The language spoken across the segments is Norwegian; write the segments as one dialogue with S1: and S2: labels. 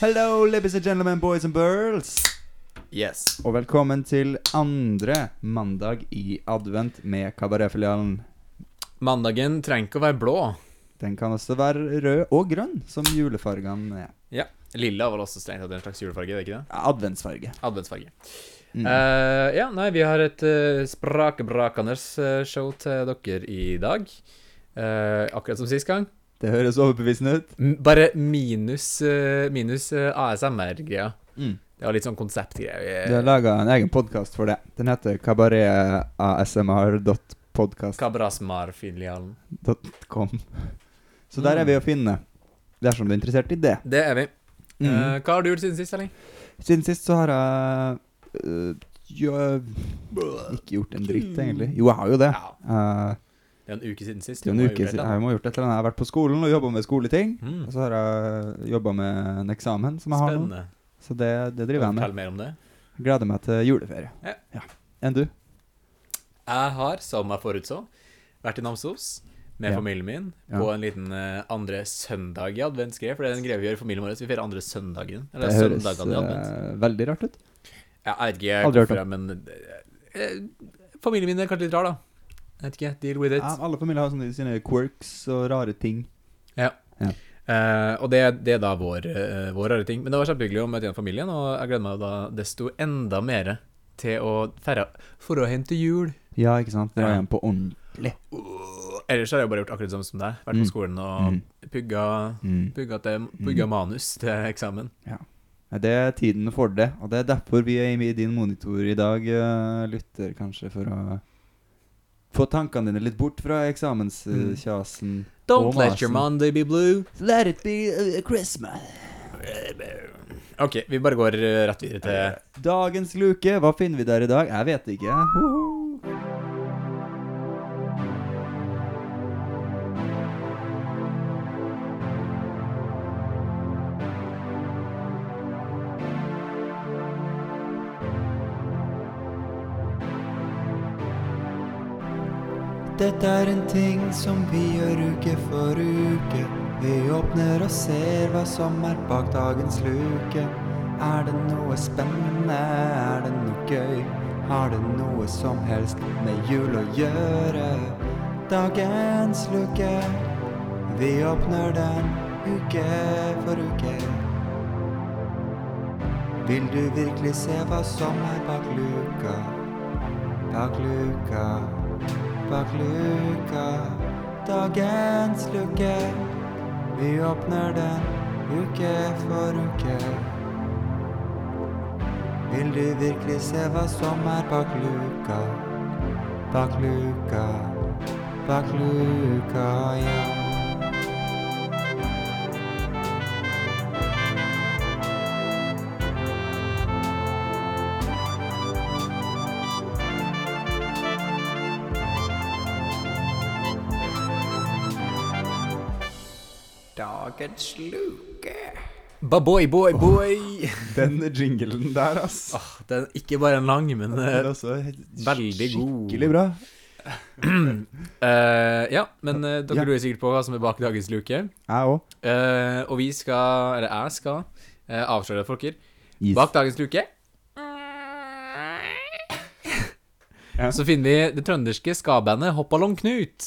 S1: Hello, ladies and gentlemen, boys and girls.
S2: Yes.
S1: Og velkommen til andre mandag i advent med kabaretfilialen.
S2: Mandagen trenger ikke å være blå.
S1: Den kan også være rød og grønn, som julefargene er.
S2: Lilla var også strengt tatt en slags julefarge, det er ikke det?
S1: Adventsfarge.
S2: Adventsfarge.
S1: Mm.
S2: Eh, ja, nei, vi har et uh, sprakebrakende eh, show til dere i dag. Eh, akkurat som sist gang.
S1: Det høres overbevisende ut.
S2: M bare minus, eh, minus eh, ASMR-greia.
S1: Mm.
S2: Det var litt sånn konseptgreie.
S1: Du har laga en egen podkast for det. Den heter kabaretasmr.podcast.com.
S2: Kabrasmar-filialen.
S1: Så der er vi
S2: Mm.
S1: å finne, dersom du er interessert i det.
S2: Det er vi.
S1: Mm.
S2: Eh, hva har du gjort siden sist, Erling?
S1: Siden sist så har jeg øh, jo, ikke gjort en dritt, egentlig. Jo, jeg har jo det.
S2: Ja,
S1: Eh,
S2: det er en uke siden sist.
S1: det er
S2: Du
S1: jo
S2: må
S1: en
S2: ha
S1: uke
S2: gjort
S1: siden
S2: et
S1: jeg
S2: eller
S1: må ha gjort et eller annet. Jeg har vært på skolen og jobba med skoleting.
S2: annet.
S1: Og så har jeg jobba med en eksamen som
S2: Mm.
S1: jeg har nå.
S2: Spennende.
S1: Så det, det
S2: Kan du
S1: driver jeg med.
S2: Fortell mer om det.
S1: Gleder meg til juleferie.
S2: Ja.
S1: Enn du?
S2: Jeg har, som jeg forutså, vært i Namsos med
S1: Ja.
S2: familien min
S1: Ja.
S2: på en liten eh, andre søndag i adventsgreie. For det er en greie vi gjør i familien vår, så vi feirer andre søndagen.
S1: Det
S2: Eller
S1: høres
S2: søndagene i advent.
S1: eh, veldig rart ut.
S2: Ja, Jeg vet ikke
S1: aldri hørt
S2: hvorfor, jeg, men eh, Familien min er kanskje litt rar, da. Jeg vet ikke. Deal with it.
S1: Ja, alle familier har sånne sine quirks og rare ting.
S2: Eh, og det, det er da vår, eh, vår rare ting. Men det var kjempehyggelig å møte igjen familien, og jeg gleder meg da desto enda mer til å feire for å hente jul.
S1: Ja, ikke sant. Dra
S2: Ja.
S1: hjem på ånd.
S2: Uh, Ellers har jeg jo bare gjort akkurat det samme som deg. Vært
S1: Mm.
S2: på skolen og
S1: Mm.
S2: pugga
S1: Mm.
S2: Pugga, til, pugga manus til eksamen.
S1: Nei, Det er tiden for det, og det er derfor vi er i din monitor i dag, eh, lytter, kanskje, for å få tankene dine litt bort fra
S2: Mm.
S1: eksamenskjasen.
S2: Don't
S1: Og
S2: let your
S1: masen.
S2: Monday be blue.
S1: Let it be uh, Christmas.
S2: OK, vi bare går eh, rett videre til
S1: Dagens luke, hva finner vi der i dag? Jeg vet ikke. Hoho. Dette er en ting som vi gjør uke for uke. Vi åpner og ser hva som er bak dagens luke. Er det noe spennende? Er det noe gøy? Har det noe som helst med jul å gjøre? Dagens luke, vi åpner den uke for uke. Vil du virkelig se hva som er bak luka? Bak luka bak luka. Dagens luke, vi åpner den uke for uke. Vil du virkelig se hva som er bak luka? Bak luka, bak luka, ja. Dagens luke.
S2: Baboy, boy, boy.
S1: Den jinglen der, ass.
S3: Eh,
S2: Åh, den er ikke bare en lang, men eh, veldig god. skikkelig
S1: bra.
S2: eh, Ja, men eh, dere
S1: Ja.
S2: lurer sikkert på hva som er bak dagens luke.
S1: Jeg òg.
S2: Eh, og vi skal, eller jeg skal, eh, avsløre for dere Bak dagens luke
S1: Ja.
S2: Så finner vi det trønderske skabandet Hoppalong Knut.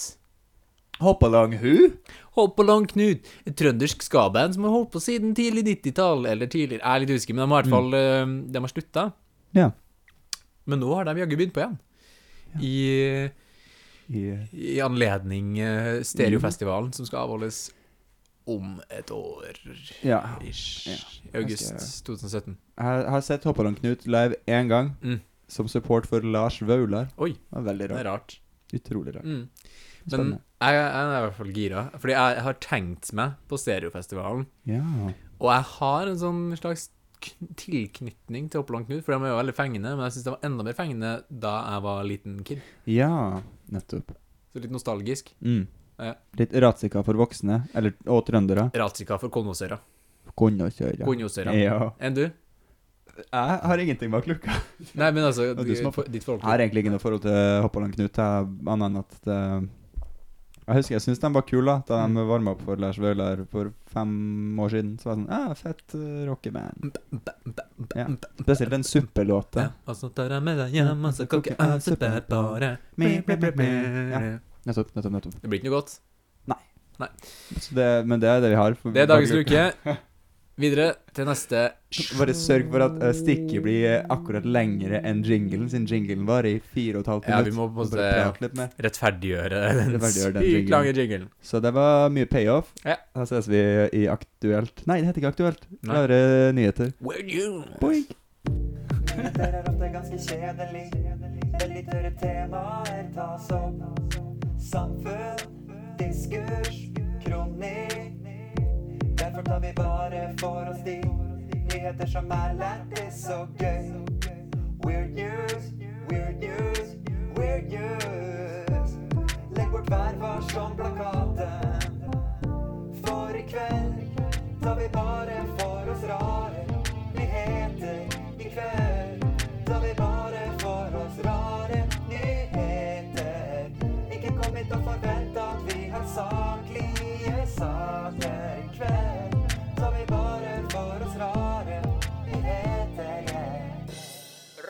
S1: Hoppalong hu?
S2: Hoppalong Knut, et trøndersk skaband som har holdt på siden tidlig 90-tall, eller tidligere, jeg er litt usikker, men de har i hvert fall eh, De har slutta.
S1: Mm. Ja.
S2: Men nå har de jaggu begynt på igjen. I, I anledning eh, Stereofestivalen som skal avholdes om et år
S1: Ja.
S2: ish.
S1: Ja.
S2: I august
S1: Ganske-
S2: 2017.
S1: Jeg har sett Hoppalong Knut live én gang,
S2: Mm.
S1: som support for Lars Vaular.
S2: Oi,
S1: Det var veldig
S2: det
S1: rart.
S2: er rart.
S1: Utrolig rart.
S2: Mm. Men jeg,
S1: Spennende.
S2: jeg er i hvert fall gira, fordi jeg har tenkt meg på Stereofestivalen.
S1: Ja.
S2: Og jeg har en sånn slags kn- tilknytning til Hoppelong Knut, for de er jo veldig fengende, men jeg syns de var enda mer fengende da jeg var liten kid.
S1: ja, nettopp.
S2: Så litt nostalgisk.
S1: Mm.
S2: Ja.
S1: Litt ratsika for voksne, eller, og trøndere.
S2: Ratsika for Konåsøra.
S1: Kunne kjøre.
S2: Konåsøra.
S1: Ja.
S2: Enn du?
S1: Jeg har ingenting bak luka.
S2: Nei, men altså
S1: Og du som har
S2: for- Ditt forhold
S1: Jeg har
S2: til
S1: egentlig ikke noe forhold til Hoppaland Knut, eh, jeg- annet enn at det
S3: Jeg husker, jeg syns de var kule da Da
S2: Mm.
S3: de varma opp for Lars Vaular for fem år siden. Så var jeg sånn ah, Fett eh, rockeband. Ja. Spesielt den suppelåta.
S2: Ja, og så tar jeg med deg hjem, og så koker jeg suppe bare.
S3: Me, me, me, me. Nettopp, nettopp, nettopp.
S2: Det blir ikke noe godt.
S3: Så det, men det er det vi har. for-
S2: Det er dagens luke. Videre til neste
S3: Bare sørg for at eh, stikket blir eh, akkurat lengre enn jinglen, siden jinglen var i fire og et halvt
S2: Ja,
S3: minutt.
S2: vi må på en måte-
S3: Bare prate litt mer.
S2: rettferdiggjøre den
S3: Rettferdiggjøre den
S2: sykt
S3: jinglen.
S2: lange jinglen.
S3: Så det var mye payoff.
S2: Ja.
S3: Da ses vi i Aktuelt Nei, det heter ikke Aktuelt.
S2: Nei.
S3: Klare nyheter.
S2: Where you?
S3: Boink!
S1: Irriterer at det er ganske kjedelig. Det litt tørre temaer tas opp. Samfunn, diskurs, kronikk. Derfor tar vi bare for oss de nyheter som er lættis og gøy. Weird news, weird news, weird news. Legg bort hver vår som plakaten. For i kveld tar vi bare for oss rare nyheter. I kveld tar vi bare for oss rare nyheter. Ikke kom hit og forvent at vi har saklige saker. I kveld tar vi bare for oss rare nyheter.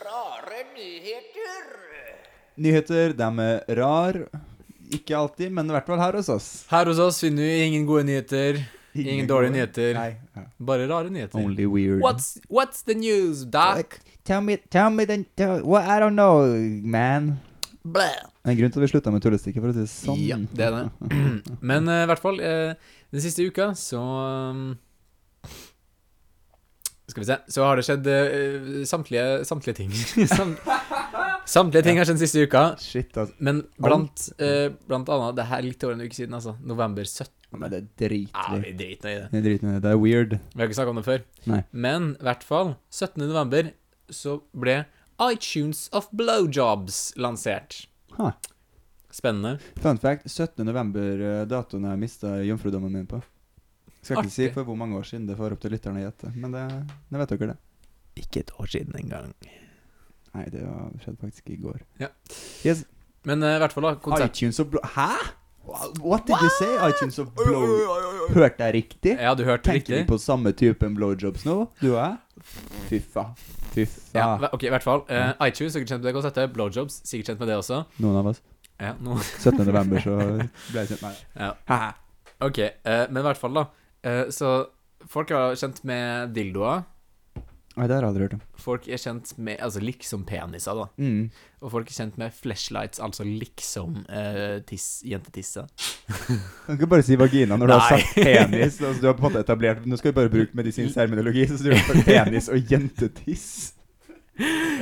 S1: Rare nyheter.
S3: Nyheter, de er rar. Ikke alltid, men i hvert fall her hos oss.
S2: Her hos oss finner du ingen gode nyheter, ingen, dårlige nyheter,
S3: Nei. Ja.
S2: bare rare nyheter.
S3: Only weird.
S2: What's, what's the news, doc?
S3: Tell me, tell me the, tell, what, I don't know, man.
S2: Blæh.
S3: Det er en grunn til at vi slutta med tullestikket, for å si det sånn.
S2: Ja, det er det. Men eh, i hvert fall, eh, den siste uka så um, Skal vi se Så har det skjedd eh, samtlige, samtlige ting. Sam, samtlige ting har skjedd siste uka.
S3: Shit, altså.
S2: Men blant, eh, blant annet Det her er litt over en uke siden, altså. November 17.
S3: Men det er dritlig.
S2: Ja, vi driter nå i det.
S3: Det er dritlig. Det er weird.
S2: Vi har ikke snakka om det før.
S3: Nei.
S2: Men i hvert fall, 17. november så ble iTunes of blowjobs lansert.
S3: Ha.
S2: Spennende.
S3: Fun fact, 17. november, eh, datoen jeg mista jomfrudommen min på. Skal ikke si
S2: Artig.
S3: for hvor mange år siden, det får opp til lytterne å gjette. Men det, det vet dere, det.
S2: Ikke et år siden engang.
S3: Nei, det var- skjedde faktisk i går.
S2: Ja.
S3: Yes.
S2: Men eh, i hvert fall, da. Konsert.
S3: iTunes of blow... Hæ? What did you say? iTunes of blow... Hørte jeg riktig?
S2: Ja, du hørte
S3: Tenker vi
S2: riktig.
S3: på samme typen blowjobs nå, du og jeg? Fy faen. Fy
S2: Ja,
S3: faen.
S2: hva- ok, i hvert fall. eh,
S3: Mm.
S2: iTunes, sikkert kjent med det konseptet. Blowjobs, sikkert kjent med det også.
S3: Noen av oss.
S2: Ja, nå
S3: 17. november, så ble jeg kjent med det.
S2: Ja.
S3: Haha.
S2: Ok, eh, men i hvert fall, da. eh, så folk er kjent med dildoer.
S3: Nei, det har jeg aldri hørt om.
S2: Folk er kjent med altså liksom-peniser, da.
S3: Mm.
S2: Og folk er kjent med flashlights, altså eh, liksom-tiss, jentetisser.
S3: Kan ikke bare si vagina når du har
S2: Nei.
S3: sagt penis. Altså, du har på en måte etablert Nå skal vi bare bruke medisinsk terminologi, så du har sagt penis og jentetiss.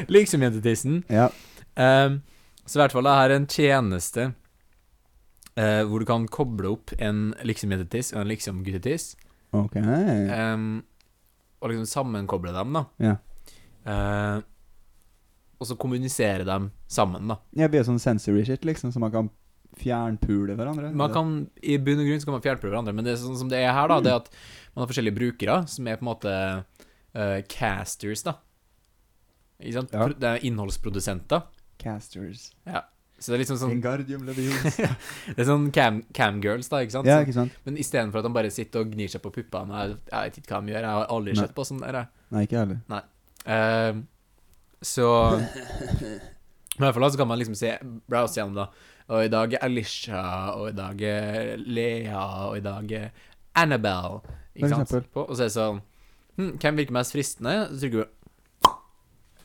S2: Liksom-jentetissen.
S3: Ja.
S2: Liksom Ehm, så i hvert fall det her er en tjeneste eh, hvor du kan koble opp en liksom-jentetiss og en liksom liksom-guttetiss,
S3: Ok.
S2: ehm, og liksom sammenkoble dem, da.
S3: Ja.
S2: Eh, og så kommunisere dem sammen, da.
S3: Jeg blir sånn sensory shit, liksom, så man kan fjernpule hverandre.
S2: Man kan, I bunn og grunn så kan man fjernprøve hverandre, men det er sånn som det er her, da, det er at man har forskjellige brukere, som er på en måte eh, casters, da. Ikke sant?
S3: Ja.
S2: Pro- Det er innholdsprodusenter.
S3: Casters.
S2: Så det er liksom sånn,
S3: Engardium leviosa.
S2: det er sånn cam, camgirls, da, ikke sant?
S3: ja,
S2: Sånn-
S3: ikke sant?
S2: Men istedenfor at han bare sitter og gnir seg på puppene Jeg, jeg vet ikke hva han gjør, jeg har aldri
S3: Nei.
S2: sett på sånn der. jeg.
S3: Nei, ikke jeg heller.
S2: Eh, så Men i hvert fall da, så kan man liksom se browse gjennom, da. Og i dag er Alicia, og i dag er Lea, og i dag er Annabelle. Ikke
S3: For
S2: sant?
S3: eksempel.
S2: På, og så er det sånn hm, Hvem virker mest fristende? Så trykker du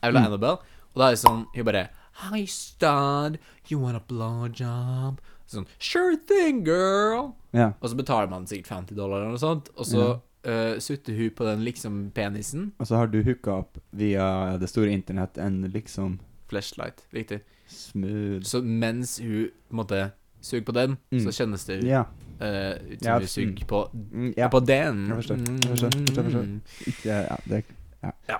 S2: Jeg
S3: Mm.
S2: vil ha Annabelle. Og da er det sånn Hun bare Hi, stud. You want a blowjob? Sånn Sure thing, girl.
S3: Ja.
S2: Og så betaler man sikkert 50 dollar eller noe sånt, og så eh, sutter hun på den liksom penisen.
S3: Og så har du hooka opp via det store internett en liksom
S2: Flashlight, riktig.
S3: smooth
S2: Så mens hun på en måte suger på den,
S3: Mm.
S2: så kjennes det
S3: Ja.
S2: eh, ut som
S3: Ja,
S2: hun suger
S3: mm.
S2: på,
S3: Mm, ja.
S2: på den.
S3: Jeg forstår, jeg forstår, jeg forstår, jeg forstår.
S2: Mm.
S3: Ikke, ja det,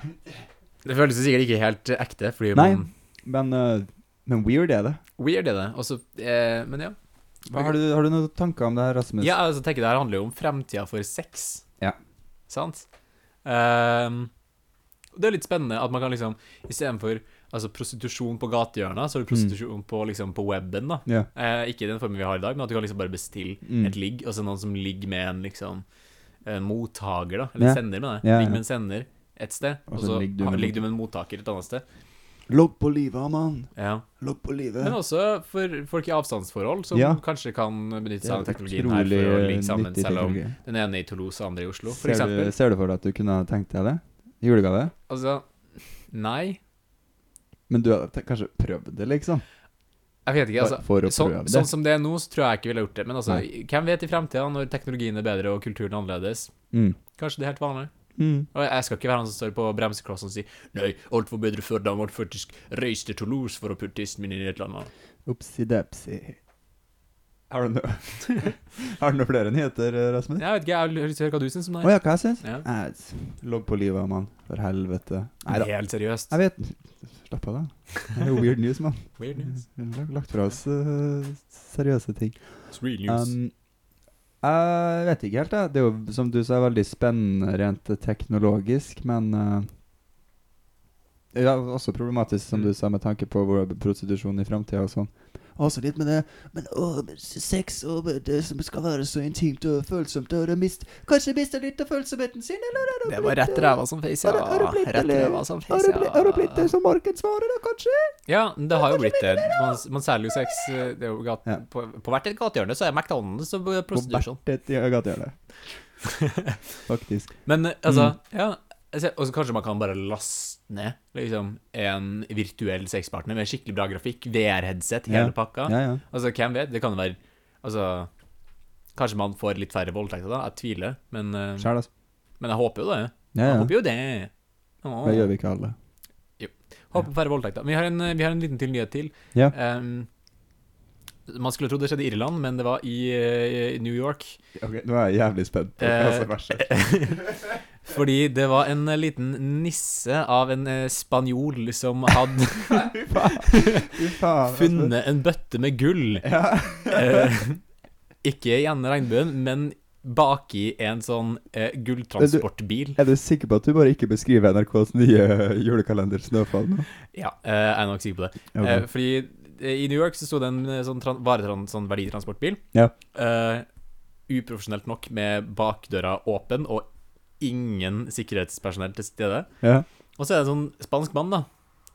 S2: Det føles jo sikkert ikke helt eh, ekte, fordi
S3: Nei.
S2: man
S3: men, eh, men weird er det.
S2: Weird er det. Og så eh, Men ja.
S3: Hva, har, du, har du noen tanker om det her, Rasmus?
S2: Ja, altså tenker jeg det her handler jo om fremtida for sex.
S3: Ja.
S2: Sant? Ehm, og det er litt spennende at man kan liksom Istedenfor altså prostitusjon på gatehjørnet, så er det
S3: Mm.
S2: prostitusjon på, liksom, på weben. da.
S3: Ja.
S2: Eh, ikke i den formen vi har i dag, men at du kan liksom bare bestille
S3: Mm.
S2: et ligg, og så noen som ligger med en liksom en mottaker, da, eller
S3: Ja.
S2: sender med deg.
S3: Ja, ja.
S2: Ligger med en sender et sted, og så ligger du med, en mottaker et annet sted.
S3: Logg på livet, mann.
S2: Ja.
S3: Logg på livet.
S2: Men også for folk i avstandsforhold, som
S3: Ja.
S2: kanskje kan benytte
S3: Det
S2: seg
S3: er
S2: av sånn teknologien her
S3: utrolig eh,
S2: for å ligge sammen,
S3: nyttig
S2: selv om
S3: teknologi.
S2: den ene er i Toulouse og andre i Oslo, for
S3: Ser du,
S2: eksempel.
S3: ser du for deg at du kunne ha tenkt deg det? Julegave?
S2: Altså, nei.
S3: Men du hadde te- kanskje prøvd det, liksom?
S2: Jeg vet ikke, altså.
S3: Bare for å
S2: Sånn,
S3: prøve det?
S2: sånn som det er nå, så tror jeg ikke ville gjort det. Men altså, hvem vet i fremtida, når teknologien er bedre og kulturen annerledes?
S3: Mm.
S2: Kanskje det er helt vanlig.
S3: Mm.
S2: Og jeg- jeg skal ikke være han som står på bremseklossen og sier Nei, alt var bedre før, da måtte jeg faktisk reise til Toulouse for å putte tissen min inn i et eller annet.
S3: Upsi-dapsi. Har du noe Har du noe flere nyheter,
S2: Jeg
S3: Rasmus?
S2: vet ikke, jeg har lyst til å høre hva du syns om
S3: Å
S2: det. her.
S3: ja, hva jeg syns?
S2: Ja.
S3: Nei, s- Logg på livet, mann. For helvete. Nei da.
S2: Helt seriøst.
S3: Jeg vet Slapp av, da. Det er jo weird news, mann.
S2: Weird news.
S3: Vi har lagt fra oss eh, seriøse ting.
S2: It's real news.
S3: Um, jeg vet ikke helt, jeg. Det er jo, som du sa, veldig spennende rent teknologisk, men eh, Ja, også problematisk, som
S2: Mm.
S3: du sa, med tanke på hvor prostitusjon i framtida og sånn. Også litt med det Men å, men sex og det som skal være så intimt og følsomt og det mist, Kanskje mister litt av følsomheten sin, eller? er
S2: Det
S3: blitt,
S2: var rett
S3: eh,
S2: ræva som face, ja.
S3: Har det- har det blitt,
S2: Rett
S3: eller?
S2: ræva som
S3: Har
S2: face,
S3: det blitt, har det blitt det
S2: ja.
S3: som markedsvare, da, kanskje?
S2: Ja, men det har jo blitt det. Man, man selger jo sex eh, det er jo gat,
S3: Ja.
S2: på, på hvert et gatehjørne så er McDonald's og eh, prostitusjon.
S3: Dette gjør gatehjørnet. Faktisk.
S2: Men eh, altså,
S3: Mm.
S2: ja altså, Og så kanskje man kan bare laste ned liksom, en virtuell sexpartner med skikkelig bra grafikk, VR-headset, hele
S3: Ja.
S2: pakka.
S3: Ja, ja.
S2: Altså, hvem vet? Det kan jo være Altså, kanskje man får litt færre voldtekter da? Jeg tviler, men, eh,
S3: Sjæl, altså.
S2: men jeg håper jo det.
S3: Ja,
S2: Jeg
S3: ja.
S2: håper jo det. Åh.
S3: Det gjør vi ikke alle.
S2: Håper på færre voldtekter. Men Vi har en, eh, vi har en liten til nyhet til.
S3: Ja.
S2: Em, man skulle tro det skjedde i Irland, men det var i, eh, i New York.
S3: Ok, Nå er jeg jævlig spent
S2: Eh,
S3: på hva som er verst.
S2: Fordi det var en eh, liten nisse av en eh, spanjol som hadde
S3: Fy faen. Fy faen. altså.
S2: funnet en bøtte med gull.
S3: Ja.
S2: Eh, ikke i enden av regnbuen, men baki en sånn eh, gulltransportbil.
S3: Er du sikker på at du bare ikke beskriver NRKs nye julekalender Snøfall nå?
S2: Ja, eh, jeg er nok sikker på det.
S3: Ok.
S2: Eh, fordi eh, i New York så sto det en eh, sånn tran varetran sånn verditransportbil.
S3: Ja.
S2: Eh, uprofesjonelt nok med bakdøra åpen og ingen sikkerhetspersonell til stede.
S3: Ja.
S2: Og så er det en sånn spansk mann, da,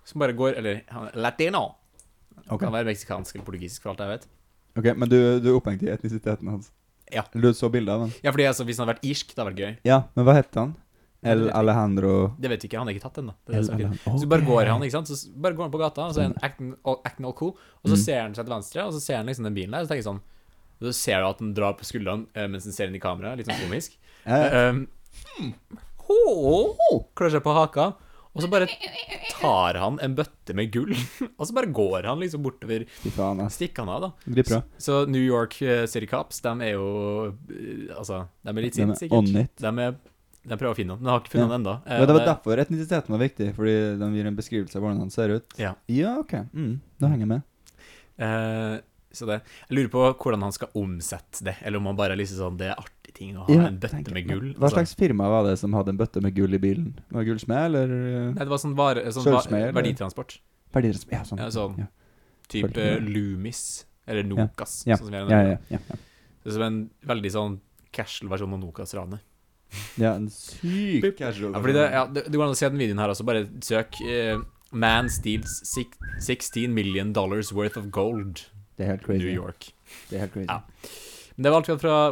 S2: som bare går Eller han er latino.
S3: Ok.
S2: Kan være meksikansk eller portugisisk, for alt jeg vet.
S3: ok, men du, du er opphengt i etnisiteten hans.
S2: Ja.
S3: Du så bildet av han?
S2: Ja, fordi altså, Hvis han hadde vært irsk, det hadde vært gøy.
S3: Ja, men hva het han?
S2: Det
S3: El
S2: vet jeg ikke.
S3: Alejandro
S2: Det vet vi ikke, han er ikke tatt ennå.
S3: El
S2: Så
S3: Alejandro.
S2: så bare går han ikke sant? Så bare går han på gata, og så er han acting, acting all cool, og så
S3: Mm.
S2: ser han seg til venstre, og så ser han liksom den bilen der, og så tenker jeg sånn Så ser du at den drar på skuldrene eh, mens den ser inn i kameraet, litt sånn komisk.
S3: Ja,
S2: Um, oh, klør seg på haka, og så bare tar han en bøtte med gull, og så bare går han liksom bortover
S3: Fy faen, ass.
S2: Stikker han av, da.
S3: Det blir bra.
S2: Så New York eh, City Cops, de er jo eh, Altså, de er litt
S3: De er
S2: sinne,
S3: on
S2: sikkert.
S3: it.
S2: De, er, de prøver å finne ham, men har ikke funnet Eh,
S3: Ja.
S2: ham ennå.
S3: Men det var derfor etnisiteten var viktig, fordi den gir en beskrivelse av hvordan han ser ut.
S2: Ja.
S3: Ja, ok. Mm, nå henger jeg med.
S2: Eh, så det Jeg lurer på hvordan han skal omsette det, eller om han bare liksom sånn Det er artig ting å ha
S3: Ja,
S2: en bøtte
S3: tenker
S2: med
S3: jeg.
S2: gull.
S3: Hva
S2: altså.
S3: slags firma var det som hadde en bøtte med gull i bilen? Var det gullsmed, eller?
S2: Nei, det var sånn, vare, sånn va-
S3: Sølvsmed, eller?
S2: verditransport.
S3: Verdidrettsmed? Ja, sånn.
S2: Ja, sånn.
S3: Ja.
S2: Type
S3: Følte med.
S2: Lumis, eller Nokas,
S3: Ja.
S2: sånn som vi er i
S3: Ja,
S2: Norge.
S3: ja, ja, ja.
S2: Det er som en veldig sånn casual-versjon av Nokas-ranet.
S3: ja en syk casual.
S2: Ja, fordi det, ja, det, det går an å se den videoen her også. Bare søk eh, 'Man steals six, 16 million dollars worth of gold
S3: Det er helt crazy.
S2: New York'. Ah.
S3: Det er helt crazy.
S2: Ja. Men det var alt vi hadde fra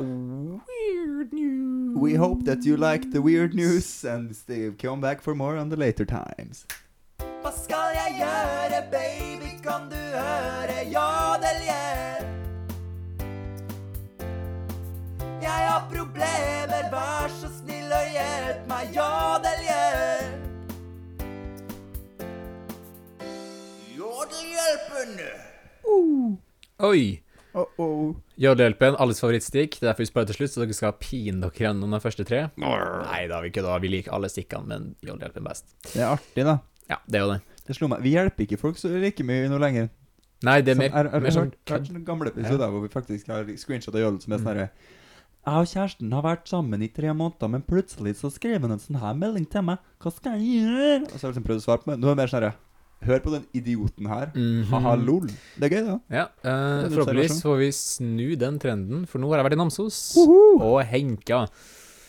S2: Weird News.
S3: We hope that you like the weird news and stay, come back for more on the later times.
S4: Hva skal jeg gjøre, baby, kan du høre jodeljel? Jeg har problemer, vær så snill og hjelp meg, jodeljel. Jodelhjelpen!
S2: Oi!
S3: Oh, oh.
S2: Jødehjelpen, alles favorittstikk. Det er derfor vi spør til slutt, så dere skal pine dere gjennom de første tre. Nei da, vi kødder. Vi liker alle stikkene, men jødehjelpen best.
S3: Det er artig, da.
S2: Ja, det er jo det.
S3: Det slo meg. Vi hjelper ikke folk så like mye nå lenger.
S2: Nei, det er mer,
S3: Sånn, er, er,
S2: mer sånn
S3: hørt, hørt noen gamle episoder hvor vi faktisk har screenshot av Joll som
S2: Mm.
S3: er sånn herre Jeg og kjæresten har vært sammen i tre måneder, men plutselig så skrev han en sånn her melding til meg. Hva skal jeg gjøre? Og så har jeg liksom prøvd å svare på det. Nå er det mer sånn herre Hør på den idioten her.
S2: Mhm.
S3: Haha, lol. Det er gøy, da.
S2: Ja, eh,
S3: En
S2: Forhåpentligvis
S3: observasjon.
S2: får vi snu den trenden, for nå har jeg vært i Namsos
S3: Uhu.
S2: og henka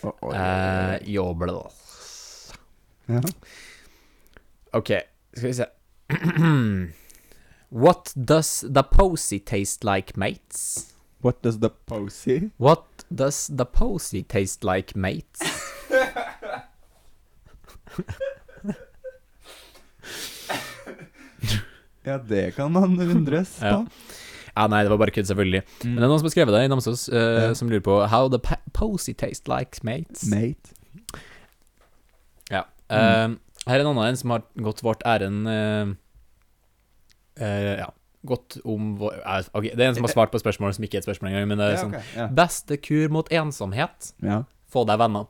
S3: Å, å,
S2: eh, jobla.
S3: ja.
S2: OK, skal vi se What does the posy taste like, mates?
S3: What does the posy?
S2: What does the posy taste like, mates?
S3: Ja, det kan man undres på.
S2: Ja. Ja, nei, det var bare kødd, selvfølgelig. Men det er noen som har skrevet det i Namsos, eh,
S3: Ja.
S2: som lurer på How the pa- posy taste like, mates?
S3: Mate.
S2: Ja.
S3: Mm.
S2: Eh, her er en annen en som har gått vårt ærend eh, eh, Ja, gått om vår eh, Ok, det er en som har svart på spørsmålet som ikke er et spørsmål engang, men det er
S3: Ja,
S2: sånn
S3: ok, ja.
S2: Beste kur mot ensomhet?
S3: ja.
S2: Få deg venner.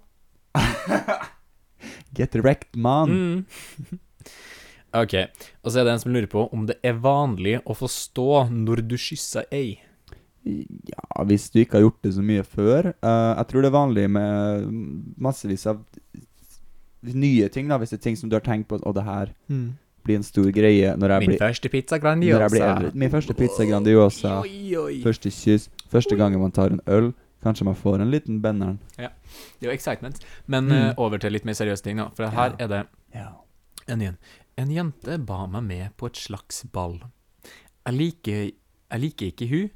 S3: Get wrecked, man.
S2: Mm. ok, og så er det en som lurer på om det er vanlig å forstå når du kysser ei.
S3: Ja, hvis du ikke har gjort det så mye før. eh, jeg tror det er vanlig med massevis av nye ting, da. Hvis det er ting som du har tenkt på Å, det her blir en stor greie når jeg
S2: Min
S3: blir,
S2: første pizza
S3: når jeg blir
S2: grandiosa.
S3: eldre. Min første pizza Grandiosa.
S2: Oi, oi.
S3: Første kyss, første gangen man tar en øl. Kanskje man får en liten benneren.
S2: Det er jo excitement. Men
S3: Mm.
S2: eh, over til litt mer seriøse ting, da. For her er det
S3: Ja.
S2: En igjen. En jente ba meg med på et slags ball. Jeg liker, jeg liker ikke hun,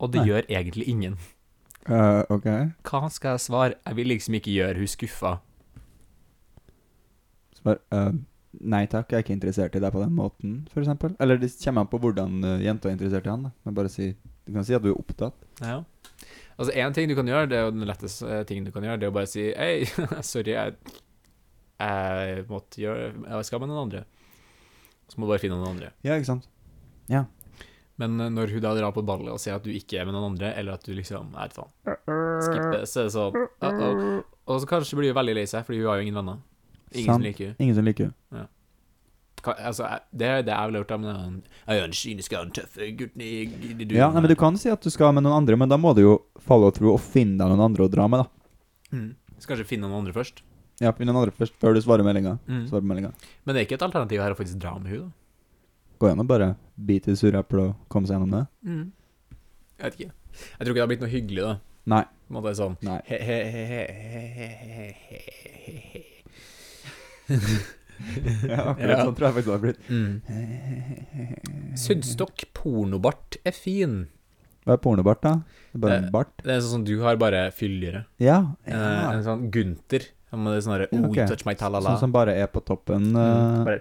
S2: og det
S3: Nei.
S2: gjør egentlig ingen.
S3: ok.
S2: Hva skal jeg svare? Jeg vil liksom ikke gjøre hun skuffa.
S3: Så bare eh, Nei takk, jeg er ikke interessert i deg på den måten, f.eks. Eller det kommer an på hvordan eh, jenta er interessert i han. da. Men bare si Du kan si at du er opptatt.
S2: Ja. Altså, én ting du kan gjøre, det er jo den letteste eh, tingen du kan gjøre, det er å bare si Hei, sorry, jeg, jeg måtte gjøre Jeg skal med noen andre. Så må du bare finne noen andre.
S3: Ja, ikke sant?
S2: Men eh, når hun da drar på ballet og ser at du ikke er med noen andre, eller at du liksom er faen Skipper, så er det sånn uh-oh. Og så kanskje blir hun veldig lei seg, fordi hun har jo ingen venner. Ingen
S3: Sant.
S2: som liker henne.
S3: Ingen som liker henne.
S2: Ka- Altså, jeg- det er det jeg ville gjort, da, men jeg er en- jeg er en kynisk og en tøff gutten i i- i duen.
S3: Ja, nei, men du kan si at du skal med noen andre, men da må du jo falle og tro og finne deg noen andre å dra med, da.
S2: Mm. Så kanskje finne noen andre først.
S3: Ja, finn noen andre først, før du svarer meldinga.
S2: Mm.
S3: Svarer meldinga.
S2: Men det er ikke et alternativ her å faktisk dra med henne,
S3: Gå gjennom bare bite i sure epler og komme seg gjennom det.
S2: da. Jeg vet ikke. Jeg tror ikke det har blitt noe hyggelig, da.
S3: Nei.
S2: På en måte sånn
S3: Nei.
S2: he he he he he he he
S3: Ja, akkurat
S2: Ja.
S3: sånn tror jeg faktisk det har blitt.
S2: mm. Suddstokk pornobart er fin.
S3: Hva er pornobart, da? Det er Bare en
S2: Eh,
S3: bart?
S2: Det er sånn som du har, bare fylligere.
S3: Ja.
S2: Eh,
S3: ja.
S2: en sånn Gunther. Han med det sånn derre
S3: Ja,
S2: Oh,
S3: ok.
S2: you touch my talala.
S3: Sånn som bare er på toppen.
S2: Mm,
S3: eh,
S2: Bare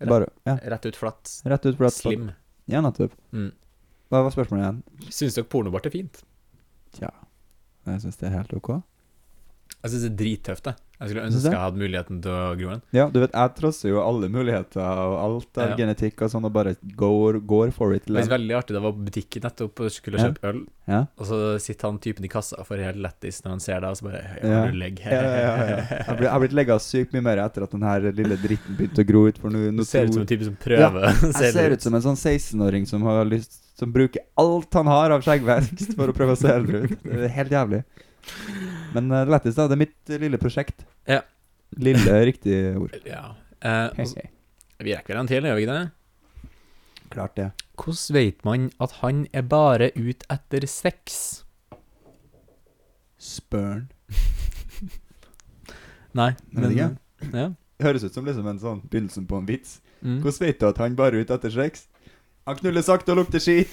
S2: rett-
S3: bare, ja.
S2: rett ut flatt.
S3: Rett ut flatt.
S2: Slim.
S3: Ja, nettopp.
S2: Mm.
S3: Hva var spørsmålet igjen?
S2: Syns dere pornobart er fint?
S3: Tja, jeg syns det er helt ok.
S2: Jeg syns det er drittøft, jeg. Jeg skulle
S3: Synes
S2: ønske
S3: det?
S2: jeg hadde muligheten til å gro en.
S3: Ja, du vet, jeg trosser jo alle muligheter og alt av
S2: Ja.
S3: genetikk og sånn, og bare går, går for it.
S2: Det
S3: Liksom.
S2: var veldig artig, det var på butikken nettopp og skulle
S3: Ja.
S2: kjøpe øl,
S3: Ja.
S2: og så sitter han typen i kassa og får helt lættis når han ser deg, og så bare «Hei,
S3: Ja.
S2: har du legg?
S3: Ja, ja, ja, ja. Jeg ble- jeg har blitt legga sykt mye mer etter at den her lille dritten begynte å gro ut. For nå,
S2: Du
S3: nå
S2: ser ut som
S3: tror-
S2: en type som prøver.
S3: jeg ser ut som en sånn 16-åring som har lyst Som bruker alt han har av skjeggvekst for å prøve å se eldre ut. Det er helt jævlig. Men eh, det letteste, da. Det er mitt eh, lille prosjekt.
S2: Ja.
S3: Lille, riktig ord.
S2: Ja. Eh, og så, vi rekker vel en til, gjør vi ikke det?
S3: Klart det.
S2: Hvordan vet man at han er bare ut etter sex?
S3: Spørn.
S2: Nei,
S3: Men
S2: men
S3: ja.
S2: ja.
S3: Høres ut som liksom en sånn begynnelsen på en vits.
S2: Mm.
S3: Hvordan vet du at han bare er ute etter sex? Han knuller sakte og lukter skit.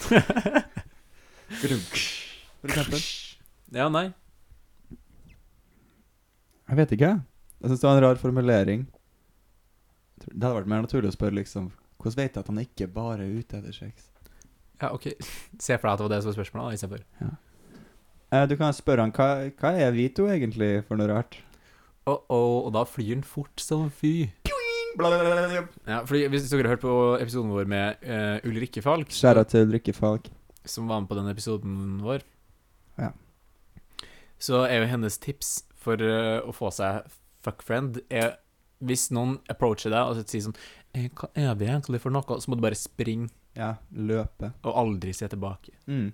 S3: For eksempel.
S2: Ja, nei.
S3: Jeg vet ikke. Jeg syns det var en rar formulering. Jeg tror- Det hadde vært mer naturlig å spørre liksom Hvordan vet du at han ikke bare er ute etter sex?
S2: Ja, ok. Se for deg at det var det som var spørsmålet, da, istedenfor.
S3: Eh, du kan spørre han hva, hva er vi to egentlig for noe rart?
S2: Oh-oh, og da flyr den fort som fy. Ja, fordi Hvis dere har hørt på episoden vår med eh, Ulrikke Falk,
S3: Skjæra til Ulrikke Falk.
S2: som var med på den episoden vår,
S3: Ja.
S2: så er jo hennes tips for eh, å få seg fuckfriend er hvis noen approacher deg og sier sånn «Eh, Hva er det egentlig for noe? Så må du bare springe
S3: Ja, løpe.
S2: og aldri se tilbake.
S3: Mm.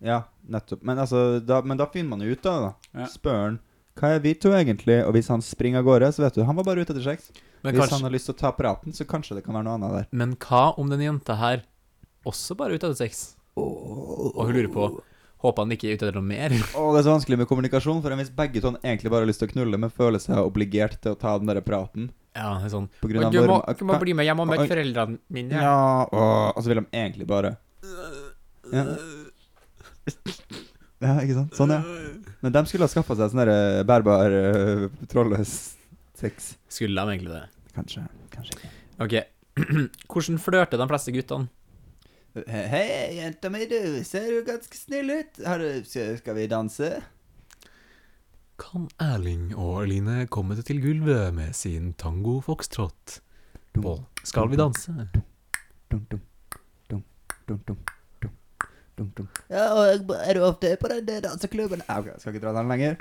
S3: Ja, nettopp. Men, altså, da, men da finner man jo ut av det, da.
S2: Ja.
S3: Spør han Hva er vi to egentlig? Og hvis han springer av gårde, så vet du, han var bare ute etter sex.
S2: Men,
S3: hvis
S2: kanskje,
S3: han har lyst til å ta praten, så kanskje det kan være noe annet der.
S2: men hva om den jenta her også bare er ute etter sex? Og hun lurer på Håper han ikke er ute etter noe mer?
S3: Å, det er så vanskelig med kommunikasjon, for hvis begge to egentlig bare har lyst til å knulle, men føler seg obligert til å ta den der praten
S2: Ja, det er sånn
S3: på grunn
S2: Og
S3: av
S2: du må,
S3: norm-
S2: du må bli med hjem og møte
S3: Oi.
S2: foreldrene mine.
S3: Ja, og, og så vil de egentlig bare ja. ja, ikke sant? Sånn, ja. Men de skulle ha skaffa seg sånn derre bærbar, uh, trådløs sex.
S2: Skulle de egentlig det?
S3: Kanskje. Kanskje ikke.
S2: Ok. Hvordan flørter de fleste guttene?
S3: Hei, jenta mi, du ser jo ganske snill ut. Har du, skal skal vi danse?
S2: Kan Erling og Eline komme til gulvet med sin tango foxtrot? På Skal vi danse?
S3: Dum, dum, dum, dum, dum, dum, dum, dum. Ja, og er du ofte på den der danseklubben? Ja, ok, skal ikke dra den lenger.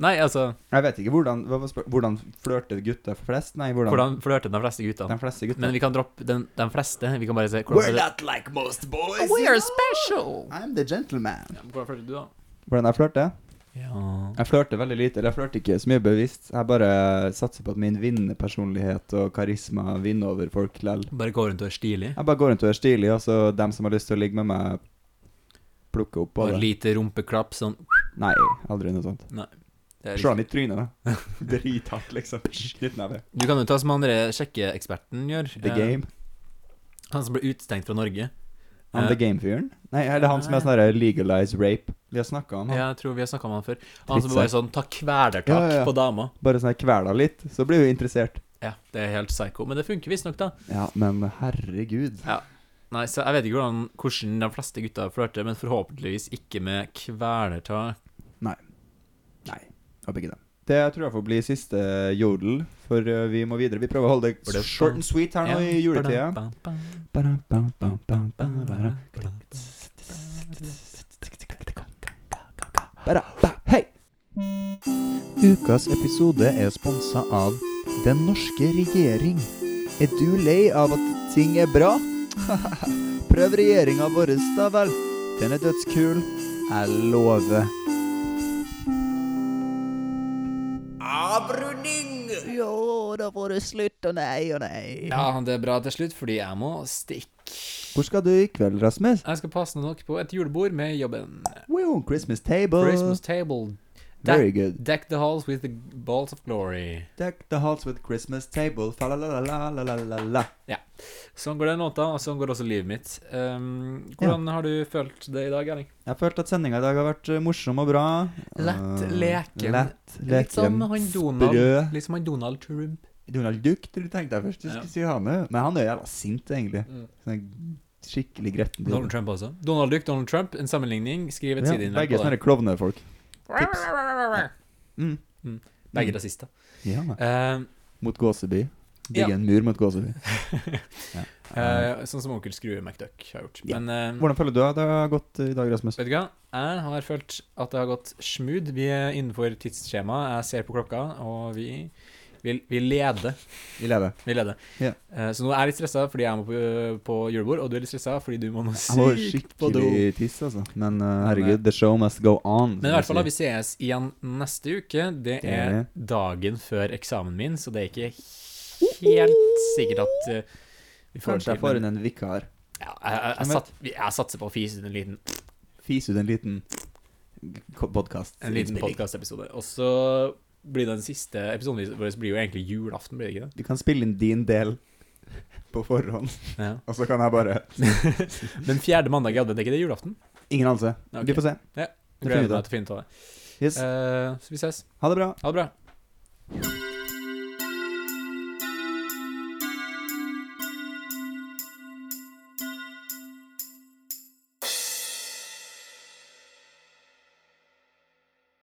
S2: Nei, altså
S3: Jeg vet ikke hvordan, hva var spør- hvordan flørter gutter flest? Nei, hvordan,
S2: Hvordan flørter de fleste guttene?
S3: de fleste
S2: Men
S3: gutter.
S2: vi kan droppe den, den fleste. Vi kan bare se hvordan flørter-
S4: not like most boys.
S2: We're special!
S3: I'm the gentleman.
S2: Hvordan flørter du, da?
S3: Hvordan jeg flørter?
S2: Ja
S3: Jeg flørter veldig lite, eller jeg flørter ikke så mye bevisst. Jeg bare satser på at min vinnerpersonlighet og karisma vinner over folk lell.
S2: Bare gå rundt og være stilig.
S3: Jeg bare går rundt og er stilig, og så dem som har lyst til å ligge med meg, plukker opp på
S2: Og et
S3: det.
S2: lite rumpeklapp sånn
S3: Nei, aldri noe sånt.
S2: Det er liksom-
S3: Slå han i trynet, da. Drithardt, liksom. Knyttneve.
S2: Du kan jo ta som han andre sjekkeeksperten gjør.
S3: The
S2: eh,
S3: Game.
S2: Han som ble utestengt fra Norge.
S3: Han
S2: Eh,
S3: The Game-fyren? Nei, er det han som er sånn der legalized rape? Vi har snakka om han.
S2: Ja, jeg tror vi har snakka om han før. Han som
S3: Tritt seg.
S2: bare sånn tar kvelertak
S3: Ja, ja, ja.
S2: på dama.
S3: Bare sånn her kvela litt, så blir hun interessert.
S2: Ja, det er helt psycho. Men det funker visstnok, da.
S3: Ja, men herregud.
S2: Nei, så jeg vet ikke hvordan, hvordan de fleste gutta flørter, men forhåpentligvis ikke med kvelertak.
S3: Nei, håper ikke det. Det tror jeg får bli siste jodel, for eh, vi må videre. Vi prøver å holde
S2: For det-
S3: det short and sweet her nå i juletida.
S2: Ba-dam, ba-dam,
S3: Ba-dam, bam, bam, bam, bam, ba-dam.
S2: ba-dam, ba-dam.
S3: Ba-da-ba, Hei! Ukas episode er sponsa av Den norske regjering. Er du lei av at ting er bra? Prøv regjeringa vår, da vel. Den er dødskul. Jeg lover.
S5: Jo, da får du slutt, og nei og nei.
S2: Ja, det er bra til slutt, fordi jeg må stikke.
S3: Hvor skal du i kveld, Rasmus?
S2: Jeg skal passe nok på et julebord med jobben.
S3: We're on Christmas table.
S2: Christmas table.
S3: Very
S2: Deck,
S3: good.
S2: deck the halls with the balls of glory.
S3: Deck the halls with Christmas table. Fa la la la la la la la.
S2: Sånn går den låta, og sånn går også livet mitt. Um, hvordan har du følt det i dag, Erling?
S3: Jeg følte at sendinga i dag har vært eh, morsom og bra.
S2: Lett
S3: Eh,
S2: leken.
S3: Lett leken.
S2: Litt som han Donald.
S3: Sprø.
S2: Litt som han Donald Trump.
S3: Donald Duck, tror du tenkte jeg først. Du skulle
S2: Ja.
S3: si hane. Men han er jo jævla sint, egentlig. Sånn skikkelig gretten. type.
S2: Mm. Donald Trump også. Donald Duck, Donald Trump, en sammenligning. Skriv et
S3: Ja,
S2: sideinnlegg
S3: begge
S2: på
S3: sånne
S2: det.
S3: klovnefolk. Tips. Mm.
S2: Begge rasister.
S3: Ja,
S2: Eh,
S3: mot Gåseby. Bygge
S2: Ja. Mm.
S3: en mur mot Gåseby. ja. Eh,
S2: eh, sånn som onkel Skrue McDuck har gjort.
S3: Ja.
S2: Men eh,
S3: Hvordan føler du at det har gått i dag, Rasmus?
S2: vet du hva? Jeg har følt at det har gått smooth. Vi er innenfor tidsskjemaet. Jeg ser på klokka, og vi, vi, vi leder.
S3: Vi lever.
S2: Vi leder.
S3: Ja.
S2: Eh, så nå er jeg litt stressa fordi jeg må på, eh, på julebord, og du er litt stressa fordi du må nå
S3: Jeg var
S2: sykt på do.
S3: skikkelig tiss, altså. Men eh, herregud, the show must go on. som
S2: Men i
S3: jeg
S2: hvert fall da,
S3: sier.
S2: vi ses igjen neste uke. Det
S3: Det
S2: er
S3: er
S2: dagen før eksamen min, så det er ikke helt sikkert at eh, vi får det
S3: Kanskje
S2: til.
S3: jeg får
S2: men-
S3: inn en vikar.
S2: Ja, jeg, jeg, jeg, sat, jeg satser på å fise ut en liten,
S3: Fis ut en liten podkast.
S2: en liten podkastepisode. Og så blir den siste episoden vår blir jo egentlig julaften, blir det ikke det?
S3: Du kan spille inn din del på forhånd,
S2: Ja.
S3: og så kan jeg bare
S2: Men fjerde mandag i advent, er ikke det julaften?
S3: Ingen anelse.
S2: Ok. Eh.
S3: Vi får se.
S2: Ja,
S3: Det finner
S2: Gleder
S3: vi ut
S2: meg
S3: av.
S2: til å finne ut av det.
S3: Yes.
S2: Eh, så vi ses.
S3: Ha det bra.
S2: Ha det bra.